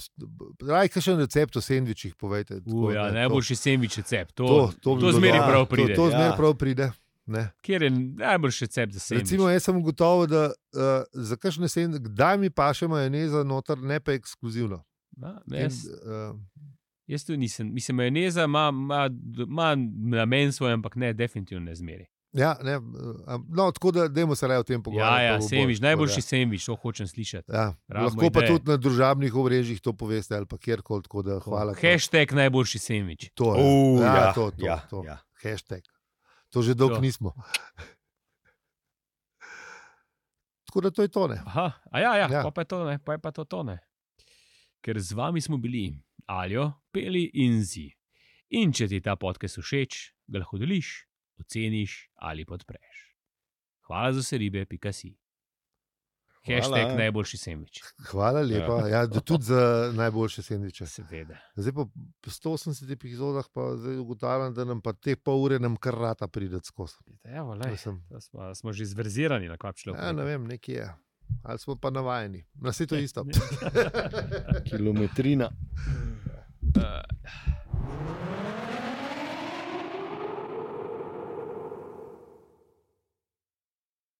Speaker 2: raj, kakšen recept o sendvičih, povejte. tako,
Speaker 3: Uja,
Speaker 2: ne,
Speaker 3: ja, najboljši sendvič recept. To,
Speaker 2: To, to, bi
Speaker 3: to
Speaker 2: bilo
Speaker 3: zmeraj
Speaker 2: dobro.
Speaker 3: prav pride.
Speaker 2: To, to zmeraj
Speaker 1: Ja.
Speaker 2: prav pride. Ne.
Speaker 3: Kjer je najboljši recept za sendvič?
Speaker 2: Recimo, jaz sem ugotovil, da uh, za kakšne sen, kdaj mi paše majoneza noter, ne pa ekskluzivno.
Speaker 3: A,
Speaker 2: In,
Speaker 3: Ja, jaz,
Speaker 2: uh,
Speaker 3: jaz tu nisem. Mislim, majoneza ima, ima, ima namen svoj, ampak ne, definitivno ne zmeri.
Speaker 2: ja, ne, uh, am- no, tako da dajmo se raje o tem
Speaker 3: Ja,
Speaker 2: pogovarjati. pa
Speaker 3: ja,
Speaker 2: bo bolj,
Speaker 3: sendvič,
Speaker 2: tako da,
Speaker 3: najboljši sendvič, to hočem slišati.
Speaker 2: Ja,
Speaker 3: Rabimo
Speaker 2: lahko pa
Speaker 3: ideje.
Speaker 2: tudi na družabnih omrežjih to poveste ali pa kjerkoli. tako da Hvala.
Speaker 3: Hashtag najboljši sendvič.
Speaker 2: To je
Speaker 1: Uh,
Speaker 2: ja,
Speaker 1: ja,
Speaker 2: to, to,
Speaker 1: ja,
Speaker 2: to.
Speaker 1: ja.
Speaker 2: hashtag. To že dolgo
Speaker 3: To.
Speaker 2: nismo. Tako da to je tone.
Speaker 3: Aha, a ja, ja,
Speaker 2: Ja.
Speaker 3: ja. Pa, pa je to ne, pa je pa to tone. Ker z vami smo bili, alijo, peli in zi. In če ti ta podcast všeč, ga lahko deliš, oceniš ali podpreš. Hvala za vse ribe, pika si.
Speaker 1: Hvala.
Speaker 3: Hashtag najboljši semič.
Speaker 2: Hvala lepa, ja, da tudi za najboljše sendviče.
Speaker 3: Seveda.
Speaker 2: Zdaj pa po 180 epizodah pa zdaj ugotavljam, da nam pa te pol ure nam kar rata prideti skozi.
Speaker 3: Evo,
Speaker 2: To
Speaker 3: lej,
Speaker 2: sem-
Speaker 3: to smo, smo že zverzirani na kvapu človeka.
Speaker 2: Ja, ne vem, nekje je. Ali smo pa navajeni. Na svetu je isto.
Speaker 1: Kilometrina.
Speaker 3: Eh,